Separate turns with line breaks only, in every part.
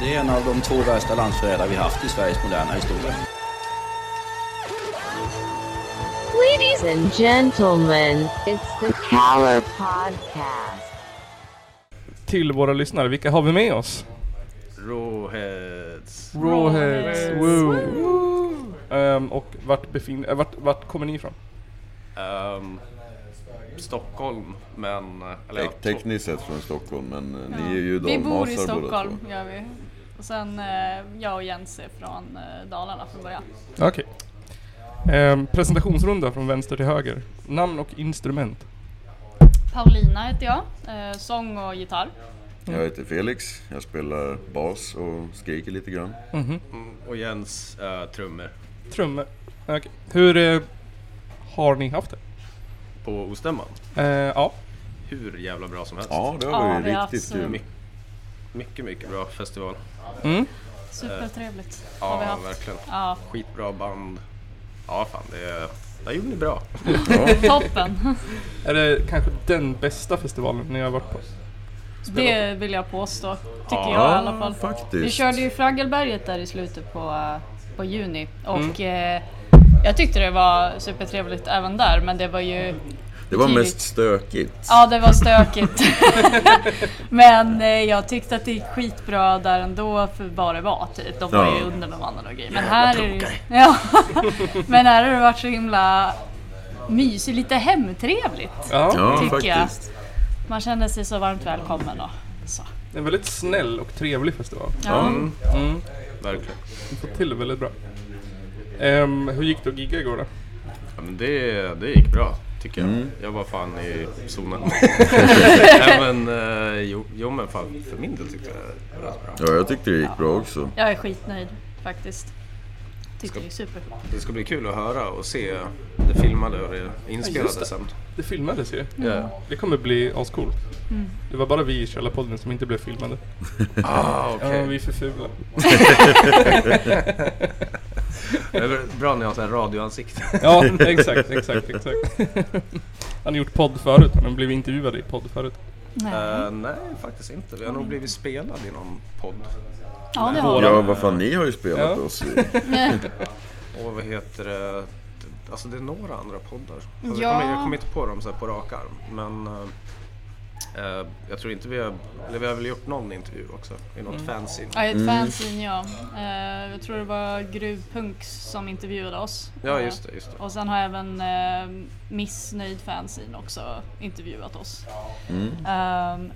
Det är en av de två värsta landsförrädare vi haft i Sveriges moderna historia.
Ladies and gentlemen, it's the Power Podcast.
till våra lyssnare. Vilka har vi med oss?
Rawheads.
Rawheads. Woo. Ehm, och vart, befin- äh, vart, vart kommer ni ifrån?
Ehm, Stockholm, men... Eller,
Tek- tekniskt sett från Stockholm, men eh, ni är ju
Vi bor i
dalmasar båda två.
Stockholm, gör vi. Och sen eh, jag och Jens är från eh, Dalarna från början.
Okej. Ehm, presentationsrunda från vänster till höger. Namn och instrument.
Paulina heter jag, eh, sång och gitarr.
Jag heter Felix, jag spelar bas och skriker lite grann.
och Jens eh, trummor
Trummor. Okej. Hur eh, har ni haft det?
på ostämman.
Ehm, ja.
Hur jävla bra som helst.
Ja, det
Ja,
var ju
vi har
riktigt
haft så-
kul.
My- mycket, mycket bra festival.
Supertrevligt
Eh,
har vi
Ja,
haft.
verkligen.
Ja,
Skitbra band. Ja, fan, det, det gjorde ni bra.
toppen.
Är det kanske den bästa festivalen ni har varit på?
Det vill jag påstå, tycker jag i alla fall.
faktiskt.
Vi körde ju Fraggelberget där i slutet på, eh, på juni och
Mm.
eh, jag tyckte det var supertrevligt även där men det var ju
Det var
tidigt.
mest stökigt.
Ja, det var stökigt. men eh, jag tyckte att det gick skitbra där ändå för vad det var typ. De var
Ja.
ju underbemannade och grejer. Men här är det ju... Ja. Men här har det varit så himla mysigt, lite hemtrevligt.
Ja.
Ja,
tycker jag.
faktiskt.
Man känner sig så varmt välkommen och så.
En väldigt snäll och trevlig festival.
Ja.
Mm, Verkligen.
Ni får till det väldigt bra. Ehm, hur gick det att gigga igår då?
Ja, men det, det gick bra, tycker jag.
Mm.
Jag var fan i zonen. Nej, men, eh, jo, jo, men fan, för min del tyckte jag det var rätt bra.
Ja, jag tyckte det gick bra också.
Jag är skitnöjd faktiskt. Tycker det är super.
Det ska bli kul att höra och se det filmade och det inspelade
det.
sen.
Det filmades ju.
Ja.
Det kommer bli ascoolt. Det var bara vi i Källarpodden som inte blev filmade.
Ah,
Ja,
okej.
vi är för fula.
Det är Bra när jag har så här radioansikte.
Ja, exakt, exakt, exakt. Han har gjort podd förut, han har blivit intervjuad i podd förut.
Eh, nej, faktiskt inte. Vi har nog blivit spelade i någon podd.
Ja, det har
Våra-
vi.
Ja, vad fan, ni har ju spelat
Ja.
oss i.
Och vad heter det? Alltså det är några andra poddar. Alltså,
Ja.
jag, kommer, jag kommer inte på dem så här på rak arm. Men eh, eh, jag tror inte vi har... Eller vi har väl gjort någon intervju också i något fanzine.
Mm. Ja, ett fanzine ja. Eh, jag tror det var Gruvpunk som intervjuade oss.
Ja,
Eh,
just det. Just det.
Och sen har även eh, Missnöjd fanzine också intervjuat oss.
Mm.
Ehm,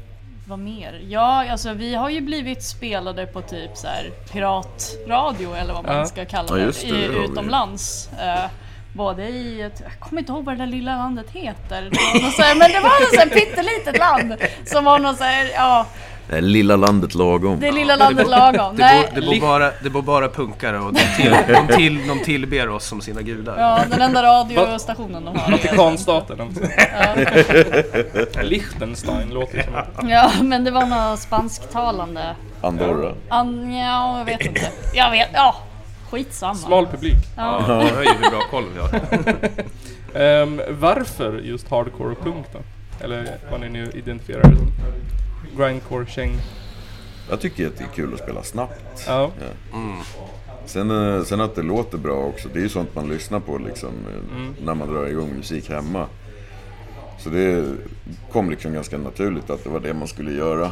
vad mer? Ja, alltså vi har ju blivit spelade på typ så här piratradio eller vad man
Ja.
ska kalla
Ja,
det,
just det, det har
i,
vi.
utomlands. Eh, både i, ett, jag kommer inte ihåg vad det där lilla landet heter. Det var något så här, men det var något så här pyttelitet land som var något så här, ja,
Det här lilla landet lagom.
det lilla landet lagom. Nej,
Det bor, bara, det bor bara punkare och de, till, de, till, de tillber oss som sina gudar.
Ja, den enda radiostationen de har. är-
Vatikanstaten. alltså. Liechtenstein låter som att
Ja, men det var något spanskttalande.
Andorra.
An, ja, jag vet inte. Jag vet, ja. Skitsamma.
smal publik.
Ja, det höjer hur bra koll vi har.
Ehm, varför just hardcore och punk då? Eller vad ni nu identifierar det som. Grindcore, käng.
Jag tycker att det är kul att spela snabbt.
Ja.
Sen, eh, sen att det låter bra också, det är ju sånt man lyssnar på liksom eh, när man drar igång musik hemma. Så det kom liksom ganska naturligt att det var det man skulle göra.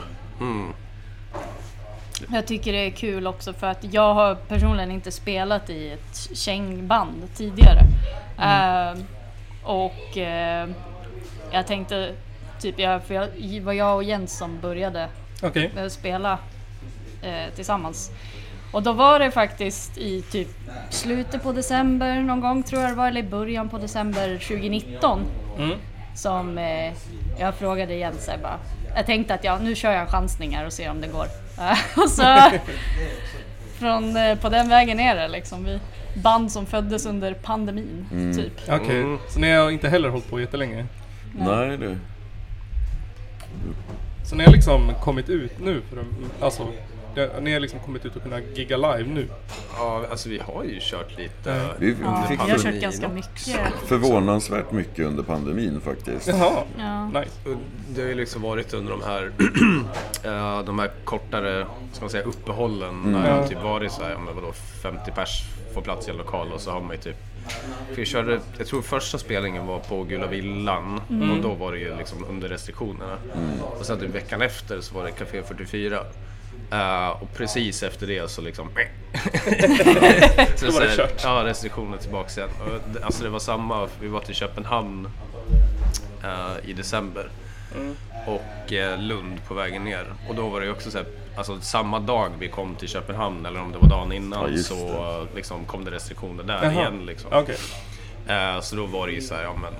Jag tycker det är kul också för att jag har personligen inte spelat i ett kängband tidigare. Eh, och eh, jag tänkte, typ jag, för jag, det var jag och Jens som började
Okej.
eh, spela eh, tillsammans. Och då var det faktiskt i typ slutet på december någon gång tror jag det var, eller i början på december 2019
Mm.
som eh, jag frågade Jens så här bara. Jag tänkte att ja, nu kör jag en chansning här och ser om det går. och så från, eh, på den vägen är det liksom. Vi, band som föddes under pandemin typ.
Okej, så ni har inte heller hållit på jättelänge?
Nej, det...
Så ni har liksom kommit ut nu? För de, alltså, det- ni har liksom kommit ut och kunnat gigga live nu?
Ja, alltså vi har ju kört lite.
Ja.
Vi
Ja,
fick
jag har
för,
kört ganska mycket.
förvånansvärt mycket under pandemin faktiskt.
Jaha,
Ja.
nice.
Och Det har ju liksom varit under de här, eh, de här kortare ska man säga, uppehållen. När det har typ varit så här, ja, men vadå, 50 pers får plats i en lokal och så har man ju typ... För jag, körde, jag tror första spelningen var på Gula Villan
Mm.
och då var det ju liksom under restriktionerna. Och sen typ veckan efter så var det Café 44. Eh, och precis efter det så liksom... så
Då var det
så här,
kört.
Ja, restriktioner tillbaks igen. Och, det- alltså det var samma, vi var till Köpenhamn eh, i december.
Mm.
Och eh, Lund på vägen ner. Och då var det ju också så här, alltså samma dag vi kom till Köpenhamn eller om det var dagen
Ja,
innan
just
så
det.
eh, liksom, kom det restriktioner där
Jaha.
igen. Liksom.
Okej.
Eh, så då var det ju så här, ja men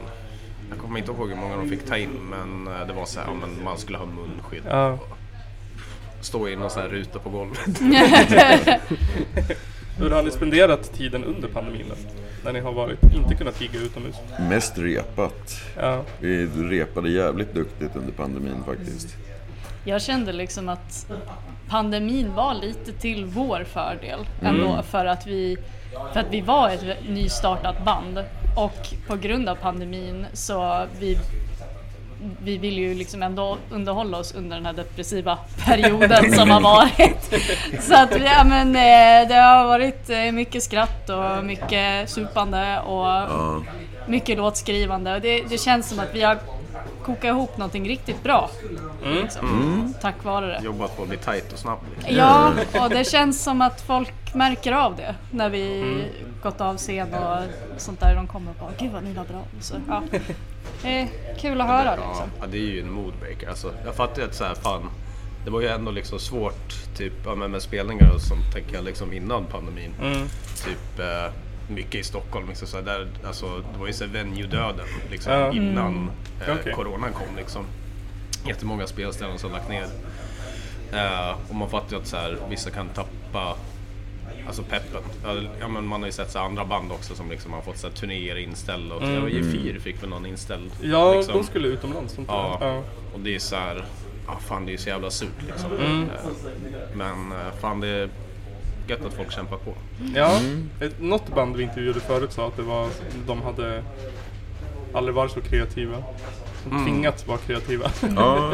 jag kommer inte ihåg hur många de fick ta in men eh, det var så här, ja, men man skulle ha munskydd.
Ja.
Stå i någon sån här ruta på golvet.
Hur har ni spenderat tiden under pandemin då? När ni har varit, inte kunnat gigga utomhus?
Mest repat.
Ja.
Vi repade jävligt duktigt under pandemin faktiskt.
Jag kände liksom att pandemin var lite till vår fördel ändå för att vi, för att vi var ett nystartat band och på grund av pandemin så vi vi vill ju liksom ändå underhålla oss under den här depressiva perioden som har varit. Så att vi- ja, men, eh, det har varit eh, mycket skratt och mycket supande och
Ja.
mycket låtskrivande och det, det känns som att vi har kokat ihop någonting riktigt bra. Liksom, Tack vare det.
Jobbat på att bli tight och snabb.
Ja,
Eh.
och det känns som att folk märker av det när vi
Mm.
gått av scen och sånt där. De kommer och bara “Gud vad ni var bra”. Så, ja. Det är kul att höra liksom.
Ja, det är ju en moodbreaker. Alltså, jag fattar ju att så här, fan, det var ju ändå liksom svårt typ, ja, men med spelningar och sånt tänker jag liksom innan pandemin.
Mm.
Typ eh, mycket i Stockholm. Liksom, så här, där, alltså, det var ju så här venue-döden liksom,
Ja.
innan eh,
Okej.
coronan kom. Liksom. Jättemånga spelställen som lagt ner. Eh, och man fattar ju att så här, vissa kan tappa Alltså peppen. Ja, Ja, men man har ju sett så här andra band också som liksom har fått så här turnéer inställda. Och, mm. Gefyr fick väl någon inställd.
Ja,
liksom.
de skulle utomlands. inte
Ja.
det? ja.
Och det är så här, ja fan det är ju så jävla surt liksom. Eh, Men eh, fan det är gött att folk kämpar på.
Ja, ett, något band vi intervjuade förut sa att det var, de hade aldrig varit så kreativa. De tvingats vara kreativa.
Ja,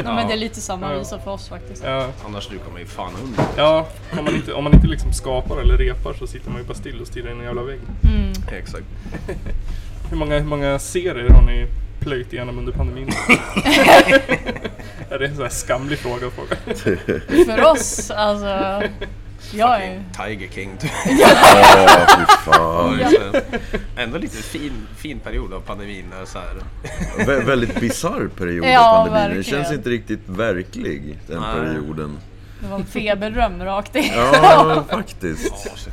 Ja, men det är lite samma
Ja.
visa för oss faktiskt.
ja,
Annars du kommer ju fan under.
ja om, man inte, om man inte liksom skapar eller repar så sitter man ju bara still och stirrar in i en jävla vägg.
Exakt.
Hur många, hur många serier har ni plöjt igenom under pandemin? är det en sån här skamlig fråga att fråga?
För oss, alltså. Jag är
Tiger King. typ. eh,
ja fy fan.
Ändå lite fin, fin period av pandemin. När så här.
Vä- väldigt bisarr period av
Ja,
pandemin. Den
verkligen.
känns inte riktigt verklig, den
Nej.
perioden.
det var en feberdröm rakt in.
Ja, faktiskt.
Ja, shit.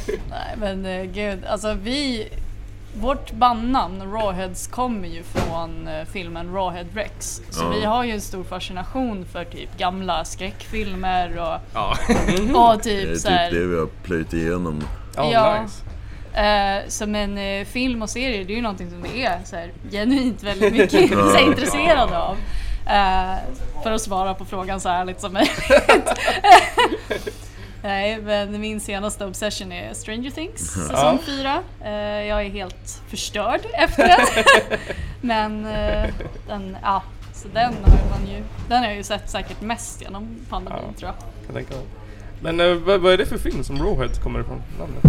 Nej men eh, gud, alltså vi... Vårt bandnamn Rawheads kommer ju från eh, filmen Rawhead Rex. Så
Ja.
vi har ju en stor fascination för typ gamla skräckfilmer och,
Ja.
och
Det är
typ
typ det
såhär.
vi har plöjt igenom.
Ja,
Ja.
nice.
Eh, så men eh, film och serier det är ju någonting som vi är såhär, genuint väldigt mycket så här, intresserade av. Eh, för att svara på frågan så ärligt som möjligt. Nej, men min senaste obsession är Stranger Things, säsong
Mhm. Ja.
4. jag är helt förstörd efter den. men eh, den, ja, så den har man ju, den har jag ju sett säkert mest genom pandemin
Ja.
tror jag.
Jag tänker mig. Men eh, vad, vad är det för film som Rawhead kommer ifrån? Namnet?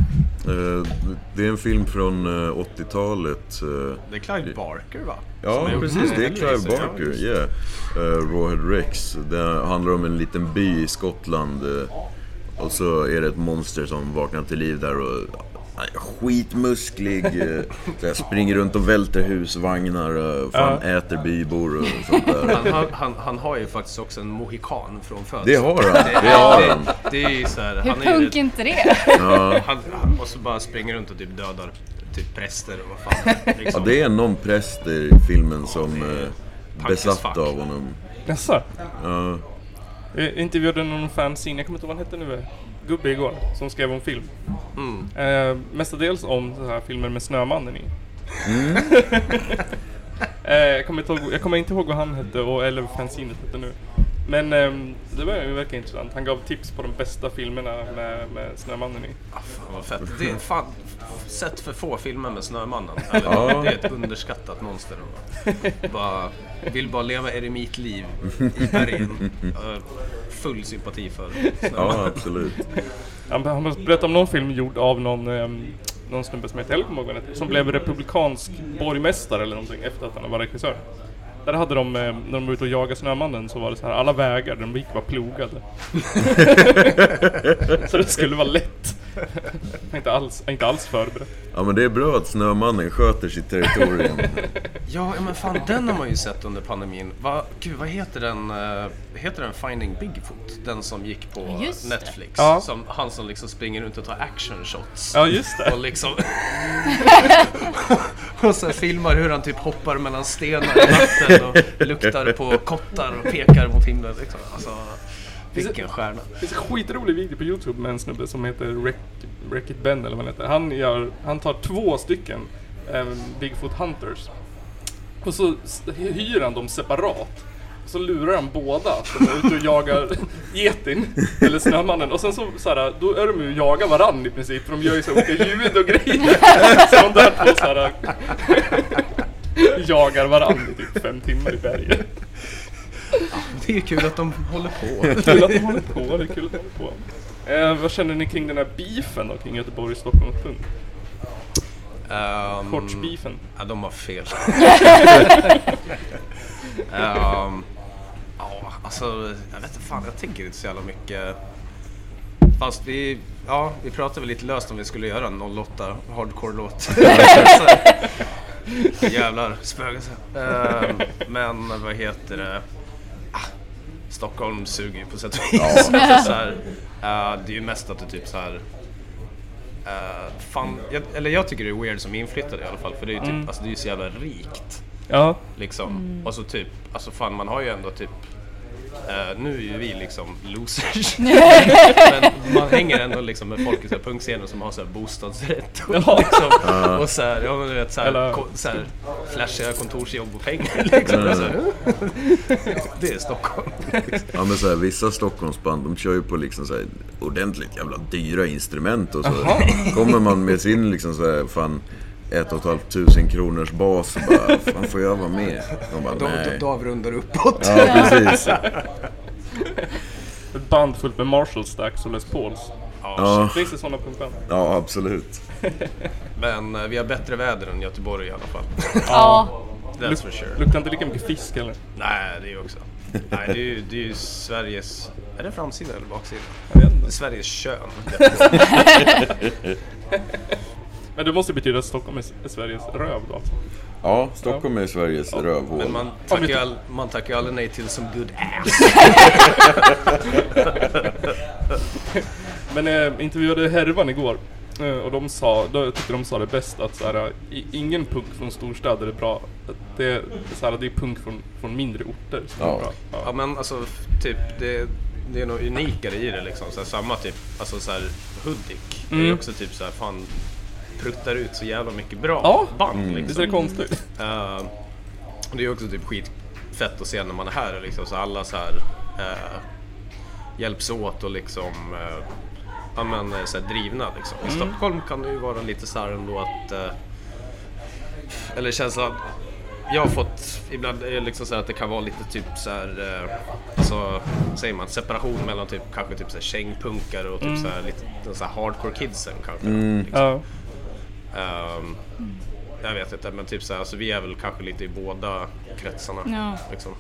Eh, Det är en film från eh, 80-talet. eh,
Det är Clive Barker va?
Ja,
Som har
precis.
gjort
Det är
den.
Clive
Ja,
Barker.
just det.
Yeah. Eh, Rawhead Rex. Det handlar om en liten by i Skottland. eh, och så är det ett monster som vaknar till liv där och han är skitmusklig. eh, så här, springer runt och välter husvagnar eh, och fan äter bybor och sånt där.
Han, har- han, han har ju faktiskt också en mohikan från födseln.
Det har han. Det har han.
Det, det är ju så här,
Hur
han är ju rätt-
punk är inte det?
han, han måste bara springa runt och typ dödar typ präster och vad fan.
Ja,
Liksom.
det är någon präst i filmen som eh,
as fuck.
besatt av honom.
Jaså?
Ja.
Jag intervjuade någon fanzine, jag kommer inte ihåg vad han hette nu, eh, gubbe igår, som skrev om film.
Mm.
Eh, mestadels om så här filmer med Snömannen i. Eh, jag, kommer inte ihåg, jag kommer inte ihåg vad han hette, och, eller vad fanzinet hette nu. Men ehm, det var ju verkligen intressant. Han gav tips på de bästa filmerna med, med Snömannen i.
Ah, fan vad fett. Det är fan sett för få filmer med Snömannen.
Ja.
Eller, det är ett underskattat monster. ändå. Bara, vill bara leva eremitliv i bergen. Eh, Full sympati för Snömannen.
Ja, absolut.
Han, han berättade om någon film gjord av någon, ehm, någon snubbe som heter Elkomogren, som blev republikansk borgmästare eller någonting efter att han var regissör. Där hade de, ehm, när de var ute och jagade Snömannen, så var det så här, alla vägar där de gick var plogade. så det skulle vara lätt. Jag är inte alls, jag är inte alls förberedd.
Ja, men det är bra att Snömannen sköter sitt territorium.
Ja, ja, men fan den har man ju sett under pandemin. Va, gud, vad heter den? eh, heter den Finding Bigfoot? Den som gick på
Just det.
Netflix.
Ja.
Som, han som liksom springer runt och tar action shots.
Ja, just det.
Och liksom... och så här filmar hur han typ hoppar mellan stenar i natten och luktar på kottar och pekar mot himlen. Liksom. Alltså, vilken stjärna.
Det finns en skitrolig video på Youtube med en snubbe som heter Wreck- Wreck-It Ben eller vad han heter. Han, gör, han tar två stycken eh, Bigfoot Hunters. Och så s- hyr han dem separat. Och så lurar han båda att de är ute och jagar getin, eller snömannen. Och sen så, så här, då är de ju och jagar varann i princip. För de gör ju så här olika ljud och grejer. Så de där två så här, jagar varann i typ fem timmar i berget.
Det är ju kul att de håller på.
Kul att de håller på, det är kul att de håller på. Eh, vad känner ni kring den här beefen då, kring Göteborg, Stockholm och Pung?
Ehm,
Kortsbeefen.
Ja, de har fel. Ehm, ja, alltså, jag vet inte fan, jag tänker inte så jävla mycket. Fast vi, ja, vi pratade väl lite löst om vi skulle göra en 08 hardcore-låt. Så, Jävlar, spöga sig. Ehm, men vad heter det? Ah, Stockholm suger ju på sätt och vis. Alltså, så här, eh, det är ju mest att det typ så här Eh, fan, jag, eller jag tycker det är weird som inflyttare i alla fall för det är ju typ,
Mm.
alltså det är ju så jävla rikt
Ja.
liksom.
Mm.
Och så typ, alltså fan man har ju ändå typ eh, nu är ju vi liksom losers. Men man hänger ändå liksom med folk i så här punkscener som har så här bostadsrätt och,
Ja.
liksom, och så här, ja men du vet så här,
Eller-
ko, så här flashiga kontorsjobb och pengar liksom. Alltså, det är Stockholm.
Ja, men så här, vissa Stockholmsband, de kör ju på liksom så här, ordentligt jävla dyra instrument och så. Kommer man med sin liksom så här, fan, ett och ett halvt tusen kronors bas och bara, fan får jag vara med? De bara, nej.
avrundar uppåt.
Ja, precis.
Ett band fullt med Marshall Stacks och Les Pauls.
Ja,
Finns det sådana punkband?
ja absolut.
Men eh, vi har bättre väder än Göteborg i alla fall.
Ja,
That's for sure.
Luktar inte lika mycket fisk eller?
Nej, det är ju också. Nej, det är ju, det är ju Sveriges... Är det framsida eller baksida?
Jag vet inte.
Sveriges kön.
Men det måste betyda att Stockholm är S- är Sveriges röv då alltså.
Ja, Stockholm är Sveriges rövhål.
Men man tackar ju all, man tackar ju aldrig nej till som good ass.
Men eh, intervjuade Hervan igår. eh, Och de sa, då jag tyckte de sa det bäst att så här, i- ingen punk från storstäder är bra. Att Det, så här, det är punk från, från mindre orter som är
Ja.
bra. Ja.
Ja, men alltså f- typ det... Det är något unikare i det liksom. Så här, samma typ, alltså så här, Hudik.
Mm.
Det är ju också typ så här, fan pruttar ut så jävla mycket bra
Ja. Mm.
band
Visst
liksom.
är det konstigt?
Eh, det är ju också typ skitfett att se när man är här liksom, så alla så här eh, hjälps åt och liksom eh, ja, men, eh, så här drivna liksom. I Stockholm kan det ju vara lite så här ändå att eh, eller känslan jag har fått ibland är det liksom så här att det kan vara lite typ så här eh, alltså, säger man separation mellan typ kanske typ så här kängpunkare och typ så här lite så här hardcore kidsen kanske. Liksom.
Ja.
Ehm, jag vet inte, men typ så här, alltså, vi är väl kanske lite i båda kretsarna.
Ja.
Liksom.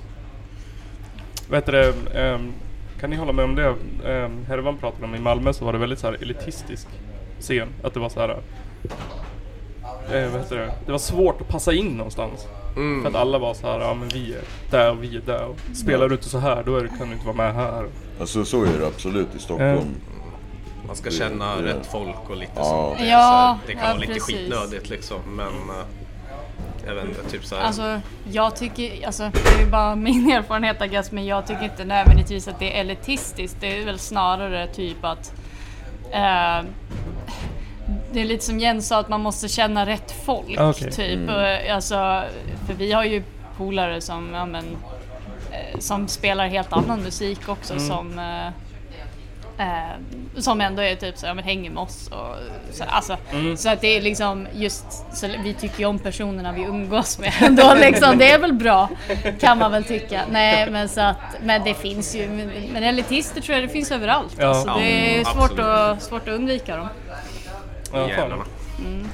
Vad heter det, ehm, kan ni hålla med om det? Um, Hervan pratade om i Malmö så var det väldigt så här elitistisk scen. Att det var så här. eh, vad heter det? Det var svårt att passa in någonstans. För att alla var så här, ja men vi är där och vi är där. Och spelar du inte så här då är, du- kan du inte vara med här.
Alltså så är det absolut i
Mm.
Stockholm.
Man ska känna
det-
rätt folk och lite
Ja.
sånt. Det är
Ja,
så här, det kan
ja,
vara lite
precis.
skitnödigt liksom, men eh, jag vet inte, typ så här.
alltså jag tycker, alltså det är ju bara min erfarenhet I guess, men jag tycker inte nödvändigtvis att det är elitistiskt. Det är väl snarare typ att eh, det är lite som Jens sa, att man måste känna rätt folk.
Okej.
Typ. Och, Alltså, för vi har ju polare som, ja, men, eh, som spelar helt annan musik också som, eh, eh, som ändå är typ så, här, ja, men, hänger med oss. Och, så, alltså, så att det är liksom just, så, vi tycker ju om personerna vi umgås med ändå liksom, det är väl bra kan man väl tycka. Nej men så att, men det finns ju, men elitister tror jag det finns överallt.
Ja.
Alltså, det är
Ja,
svårt
absolut.
att, svårt att undvika dem.
Ja,
Jävlarna.
fan.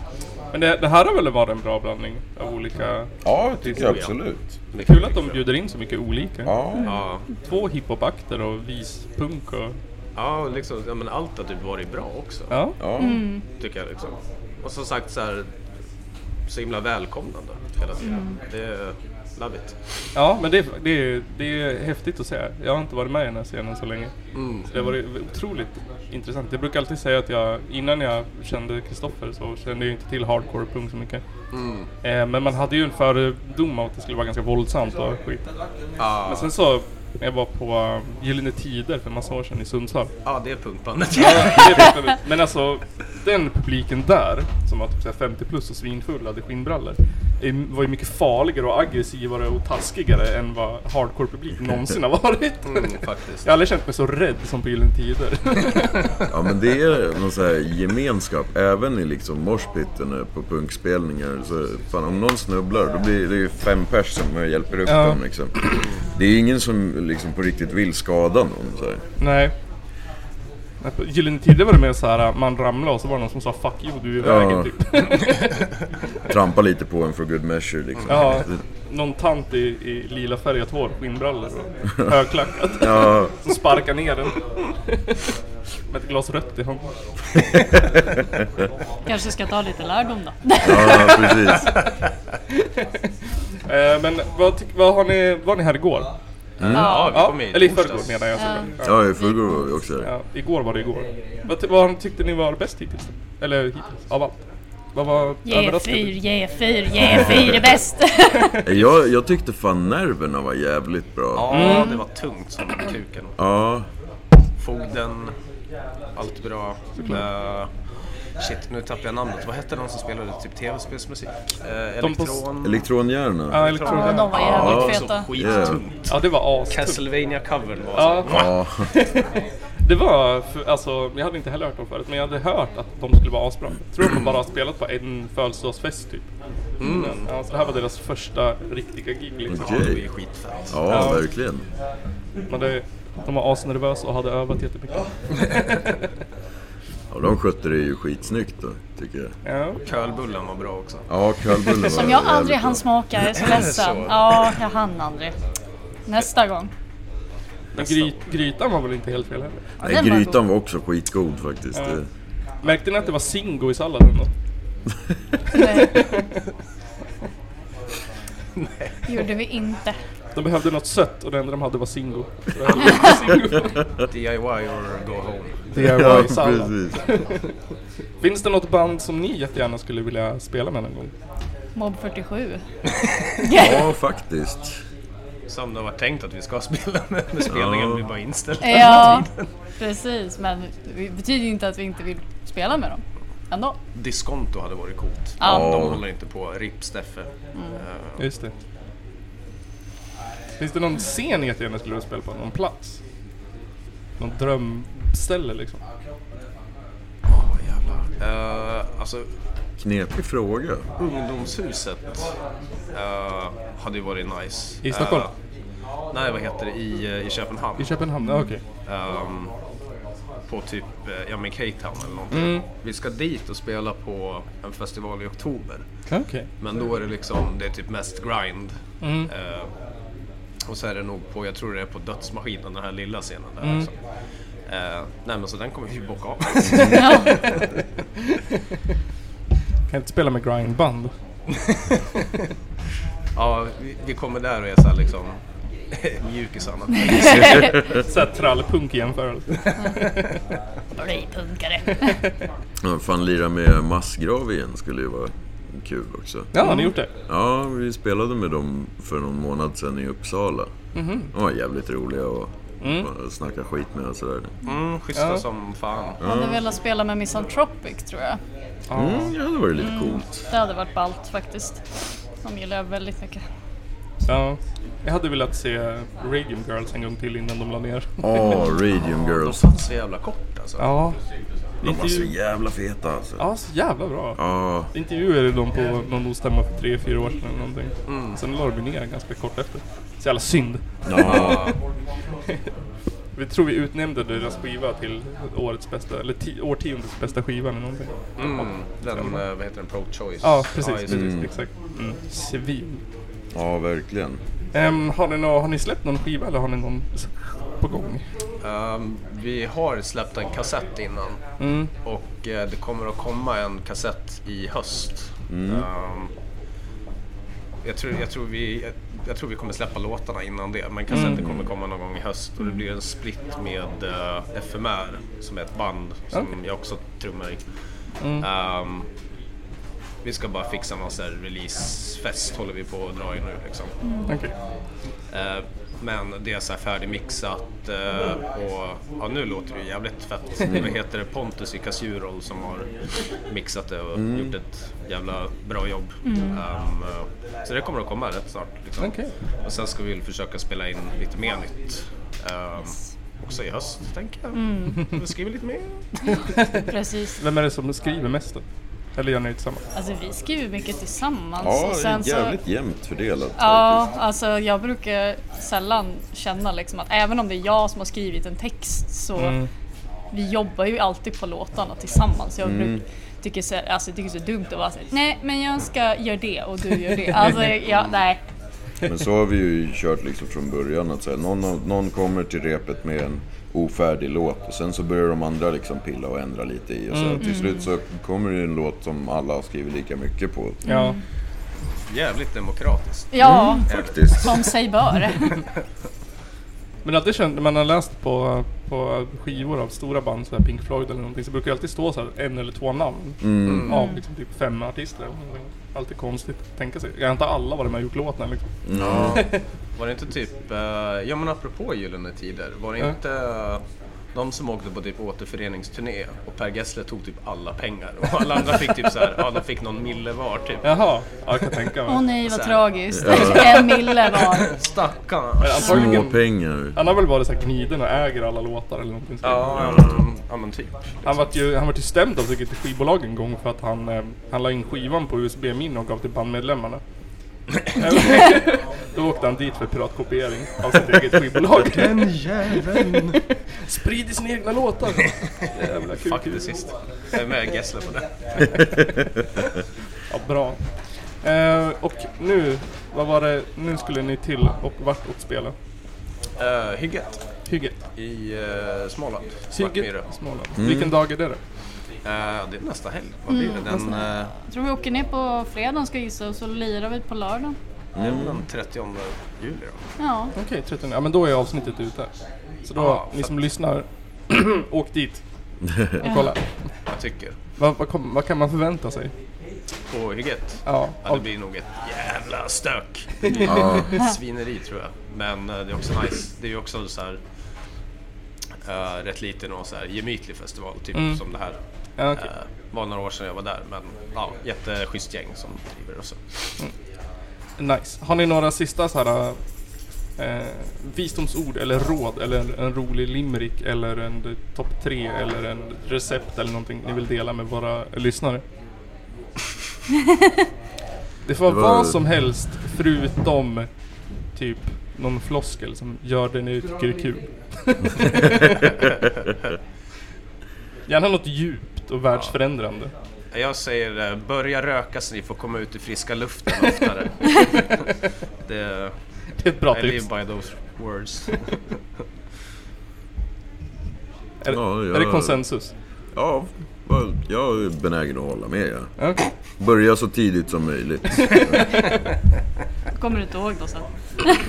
Men det, det här har väl varit en bra blandning av olika...
Ja, det tycker jag
ja.
absolut.
Det
Kul att de bjuder in så mycket olika.
Ja,
Ja,
Två hiphopakter och vispunk och...
ja, liksom, ja men allt har typ varit bra också.
Ja.
ja.
Tycker jag liksom. Och som sagt så här så himla välkomnande hela tiden.
Mm.
Det är love it.
Ja, men det, det, är- det är häftigt att se. Jag har inte varit med i den här scenen så länge. Så det har varit otroligt intressant. Jag brukar alltid säga att jag, innan jag kände Kristoffer så kände jag inte till hardcore punk så mycket. Eh, men man hade ju en fördom om att det skulle vara ganska våldsamt och skit.
Ja,
Men sen så, jag var på eh, Gyllene Tider för en massa år sedan i Sundsvall.
ja, det är punkbandet.
Det vet jag inte. Men alltså, den publiken där, som var typ så här 50 plus och svinfull hade skinnbrallor, är- var ju mycket farligare och aggressivare och taskigare än vad hardcore-publik någonsin har varit.
Mm, faktiskt.
Jag har aldrig känt mig så rädd som på Gyllene Tider.
Ja men det är någon sån här gemenskap, även i liksom moshpitten på punkspelningar. Så fan, om någon snubblar då blir det ju fem pers som hjälper upp
Ja.
dem liksom. Det är ingen som liksom på riktigt vill skada någon så här.
Nej. Nej, På Gyllene Tider var det mer så här, man ramlade och så var det någon som sa 'fuck you, du är i
Ja.
vägen' typ.
Trampa lite på en for good measure liksom.
Ja. Någon tant i, i lila färgat hår, skinnbrallor och högklackat.
Ja,
Som sparkar ner den. Med ett glas rött i handen.
Kanske ska ta lite lärdom då.
ja precis.
Eh, men vad, tyck- vad har ni, var ni här igår?
Ja, vi kom hit
Eller i
torsdags.
förrgår menar jag. såklart. Ja.
Ja i förrgår var vi också där.
Ja, igår var det igår. Vad, ty- vad tyckte ni var bäst hittills? Eller hittills, av allt? Vad var
G4, G4, G4 är bäst!
Jag, jag tyckte fan nerverna var jävligt bra.
Mm.
Ja, det var tungt som kuken.
Ja,
Fogden, allt bra.
Mm.
Eh, shit, nu tappade jag namnet. Vad hette de som spelade typ tv-spelsmusik? Eh,
De på-
Elektron...
Ja,
elektronhjärna.
Ja,
elektroner.
de var
Ja,
jävligt
också
feta.
skittungt.
Ja, det var astufft.
Castlevania-covern var
Ja.
så.
Ja,
Det var, för, alltså, jag hade inte heller hört dem förut, men jag hade hört att de skulle vara asbra. Jag tror att de bara har spelat på en födelsedagsfest typ.
Mm.
Men, ja, så det här var deras första riktiga gig liksom.
Okej.
Det är skitfett.
ja verkligen.
Mm.
Men det, de var asnervösa och hade övat jättemycket.
Ja, de skötte det ju skitsnyggt då, tycker jag.
Ja.
Kölbullen var bra också.
Ja, kölbullen var
Som jag
jävligt
aldrig
bra.
hann smaka, jag är så ledsen.
Så.
Ja, jag hann aldrig. Nästa gång.
Men
Nästa.
gry, grytan var väl inte helt fel heller?
Ja,
Nej,
den var god.
grytan var också skitgod faktiskt. Det-
Märkte ni att det var Singo i salladen då?
gjorde vi inte.
De behövde något sött och det enda de hade var Singo. Så det var Singo.
DIY or go home.
Ja,
sallad.
precis.
Finns det något band som ni jättegärna skulle vilja spela med någon gång?
Mob 47.
Ja, faktiskt.
Som det var tänkt att vi ska spela med, men spelningen blir bara inställd.
Eh. Ja, precis. Men det betyder ju inte att vi inte vill spela med dem. Ändå.
Diskonto hade varit coolt.
Ja.
De håller inte på. RIP Steffe.
Mm. Just det. Finns det någon scen ni jättegärna skulle vilja spela på? Någon plats? Någon drömställe liksom?
Åh, jävlar. Eh, alltså,
Knepig fråga.
ungdomshuset eh, hade ju varit nice.
I Stockholm?
Eh, nej, vad heter det? I, eh, i Köpenhamn.
I Köpenhamn? Ja, okej.
Ehm, på typ, eh, ja men Cape Town eller någonting.
Mm.
Vi ska dit och spela på en festival i oktober.
Okej.
Men
Mm.
då är det liksom, det är typ mest grind. Eh, och så är det nog på, jag tror det är på Dödsmaskinen, den här lilla scenen där
Mm.
också. Eh, nej men så den kommer vi ju bocka av.
Kan jag inte spela med grindband?
ja, vi, vi kommer där och är såhär liksom mjukisarna.
Såhär trallpunk i jämförelse.
Bli punkare.
Ja, fan lira med massgrav igen skulle ju vara kul också.
Ja, har ni gjort det?
Ja, vi spelade med dem för någon månad sedan i Uppsala. De var jävligt roliga och mm. snacka skit med och sådär.
Mm, schyssta som fan.
Hade velat spela med Misanthropic tror jag.
Mm, ja, det var ju lite coolt.
Det hade varit ballt faktiskt. De gillar jag väldigt mycket.
Ja. Jag hade velat se Radium Girls en gång till innan de la ner.
Åh, Radium
De
Girls.
fanns så jävla kort alltså.
Ja.
De var så
Intervju...
jävla feta alltså.
Ja, så jävla bra.
Ja,
Intervjuade de på någon ostämma för tre fyra år sedan eller någonting. Sen la de ner ganska kort efter. Så jävla synd.
ja.
Vi tror vi utnämnde deras skiva till årets bästa, eller ti- årtiondets bästa skiva eller någonting.
Mm, den, eh, vad heter den, Pro-Choice?
Ja, precis.
just
precis
det.
Exakt. Mm. Svin.
ja verkligen.
Ehm, har, ni nå- har ni släppt någon skiva eller har ni någon s- på gång?
Ehm, vi har släppt en kassett innan
Mm.
och eh, det kommer att komma en kassett i höst.
Mm.
Ehm, jag, tror, jag, tror vi, jag, jag tror vi kommer släppa låtarna innan det, men kassetten
Mm.
kommer komma någon gång i höst och det blir en split med eh, FMR som är ett band som jag också trummar i.
Mm.
Ehm, vi ska bara fixa någon sån här releasefest håller vi på att dra i nu liksom.
Okej.
Eh, Men det är så här färdigmixat eh, och ja, nu låter det ju jävligt fett. Vad heter det? Pontus i Cassurol som har mixat det och gjort ett jävla bra jobb. Ehm, eh, så det kommer att komma rätt snart. Liksom.
Okej.
Och sen ska vi väl försöka spela in lite mer nytt. ehm, Också i höst tänker jag. Vi skriver lite mer.
Precis.
Vem är det som skriver mest då? Eller gör ni det tillsammans?
Alltså vi skriver mycket tillsammans.
Ja,
och
det
sen
är
så-
jävligt jämnt fördelat
Ja,
faktiskt.
alltså jag brukar sällan känna liksom att även om det är jag som har skrivit en text så vi jobbar ju alltid på låtarna tillsammans. Jag bruk, tycker, så, alltså, jag tycker så dumt att vara så, här, nej men jag ska göra det och du gör det. Alltså jag, nej.
Men så har vi ju kört liksom från början att så här, någon, av- någon kommer till repet med en ofärdig låt och sen så börjar de andra liksom pilla och ändra lite i och så här,
Mm.
till slut så kommer det en låt som alla har skrivit lika mycket på.
Ja.
Jävligt demokratiskt.
Ja,
Faktiskt.
som sig bör.
Men alltid känt, när man har läst på, på skivor av stora band, så här Pink Floyd eller någonting, så brukar det alltid stå så här en eller två namn. Av liksom typ fem artister. eller någonting. Alltid konstigt att tänka sig. Jag antar alla var det med och gjort låten liksom.
Ja,
Var det inte typ, eh, ja men apropå Gyllene Tider, var det
Ja.
inte eh, de som åkte på typ återföreningsturné och Per Gessle tog typ alla pengar och alla andra fick typ såhär, ja de fick någon mille var typ.
Jaha, ja, jag kan tänka
Åh
mig.
nej
Så
vad
här.
tragiskt. En mille var.
Stackarn.
Men
små
Antagligen,
pengar.
Alltså, han har väl varit så här gniden och äger alla låtar eller någonting. sånt.
Ja, men- ja men typ.
Han vart ju, han vart ju stämd av sitt skivbolag en gång för att han, eh, han la in skivan på USB-minne och gav till bandmedlemmarna. Då åkte han dit för piratkopiering av sitt eget skivbolag. Den jäveln! Sprider sina egna låtar! Jävla kul,
Fuck
kul.
det sist. Jag är med Gessle på det.
Ja, bra. Eh, och nu, vad var det, nu skulle ni till och vart och spela?
Uh, hygget
Hygget.
i eh, Småland. Svartmyra.
Hygget, Småland. Vilken dag är det då?
Eh, det är nästa helg. Vad
Mm,
blir det? Den, eh,
Jag tror vi åker ner på fredagen ska jag gissa och så lirar vi på lördagen.
det är väl eh, den 30 juli då.
Ja,
Okej, 13. Ja men då är avsnittet ute. Så då,
Ja,
ni
fett.
som lyssnar, åk dit och kolla.
Jag tycker.
Vad, vad, kom, vad kan man förvänta sig?
På hygget.
Ja,
Ja, det
av,
blir nog ett jävla stök. Svineri tror jag. Men eh, det är också nice. Det är ju också så här eh, rätt liten och så här gemytlig festival, typ som det här.
ja, Mm. okej.
Eh, var några år sedan jag var där, men ja, jätteschysst gäng som driver och så.
nice. Har ni några sista så här eh, visdomsord eller råd eller en, en rolig limerick eller en eh, topp tre eller en recept eller någonting ni vill dela med våra lyssnare? Det får vara
Det var-
vad som helst förutom typ någon floskel som gör det ni tycker är kul. Gärna något djupt och världsförändrande.
Jag säger eh, börja röka så ni får komma ut i friska luften oftare. det,
Det är ett bra
I
tips.
live by those words.
Är, det-
Ja,
är det
jag-
konsensus?
Ja, vad- jag är benägen att hålla med. ja.
Ja.
Börja så tidigt som möjligt.
kommer du inte ihåg då sen?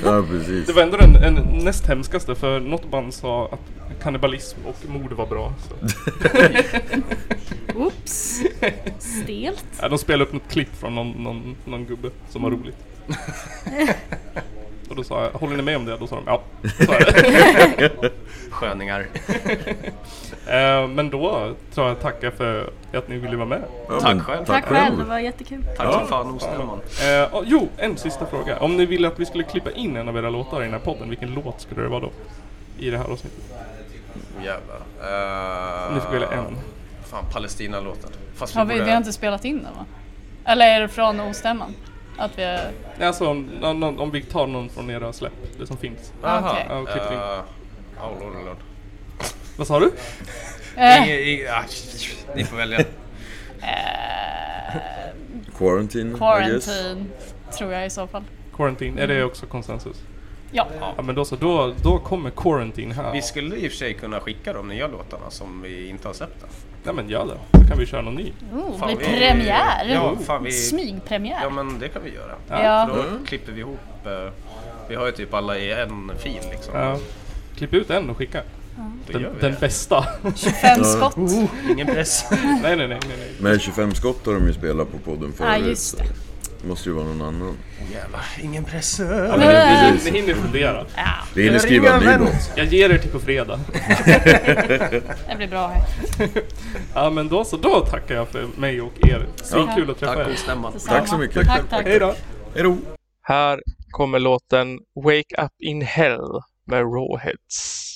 Ja, precis.
Det var ändå den, den näst hemskaste för något band sa att kannibalism och mord var bra. Så.
Oops. Stelt. Mm.
Ja, de spelade upp något klipp från någon, någon, någon gubbe som var roligt. Och då sa jag, håller ni med om det? Då sa de ja. Så är det.
Sköningar.
Eh, Men då tror jag tacka för att ni ville vara med.
Ja,
Tack
men
själv.
Tack själv, det var jättekul.
Tack som fan Ostämman.
Eh, och- Jo, en sista fråga. Om ni ville att vi skulle klippa in en av era låtar i den här podden, vilken låt skulle det vara då? I det här avsnittet?
Jävlar. Uh,
Ni får välja en.
Fan, Palestina-låten. Fast
Har vi, vi har inte spelat in den va? Eller är det från ostämman? Att vi...
Nej, Alltså om, om, om vi tar någon från era släpp, det som finns.
Aha.
Okej.
Ja, och klippt in.
Eh, oh, lord, oh, lord.
Vad sa du?
Eh,
Inge, inge, ah, ni får välja.
Quarantine, I guess.
eh, quarantine, tror jag i så fall.
Quarantine, är det också konsensus?
Ja,
Ja men då så, då, då kommer Quarantine här.
Vi skulle i och för sig kunna skicka de nya låtarna som vi inte har släppt än.
Nej men gör det, då kan vi köra någon ny.
oh,
Fan,
blir
vi-
premiär!
Ja, fan, vi- Ja,
Smygpremiär!
men det kan vi göra.
Ja.
Då klipper vi ihop. eh, vi har ju typ alla i en fil liksom.
Ja. Klipp ut en och skicka.
Då gör
Den,
vi
den
det.
bästa.
Fem skott!
Ingen press.
nej, nej, nej, nej, nej.
Med 25 skott har de ju spelat på podden förut.
Ja, just det.
Det måste ju vara någon annan.
Jävlar, ingen press.
Ni
Precis.
hinner fundera.
Vi hinner skriva en ny låt.
Jag ger er till på fredag.
Det blir bra. här.
Ja men då så, då tackar jag för mig och er. Så
Ja.
kul att träffa
Tack
er.
Ostämman.
Tack så mycket.
Tack, tack.
Hej då.
Hejdå.
Här kommer låten Wake Up In Hell med Rawheads.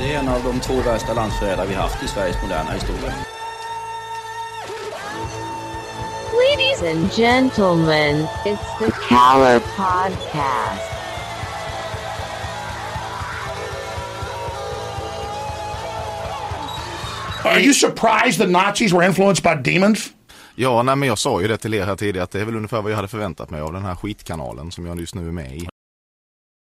Det är en av de två värsta landsförrädare vi haft i Sveriges moderna historia.
Ladies and gentlemen, it's the Caller Podcast.
Are you surprised the Nazis were influenced by demons?
Ja, nej, men jag sa ju det till er här tidigare att det är väl ungefär vad jag hade förväntat mig av den här skitkanalen som jag just nu är med i.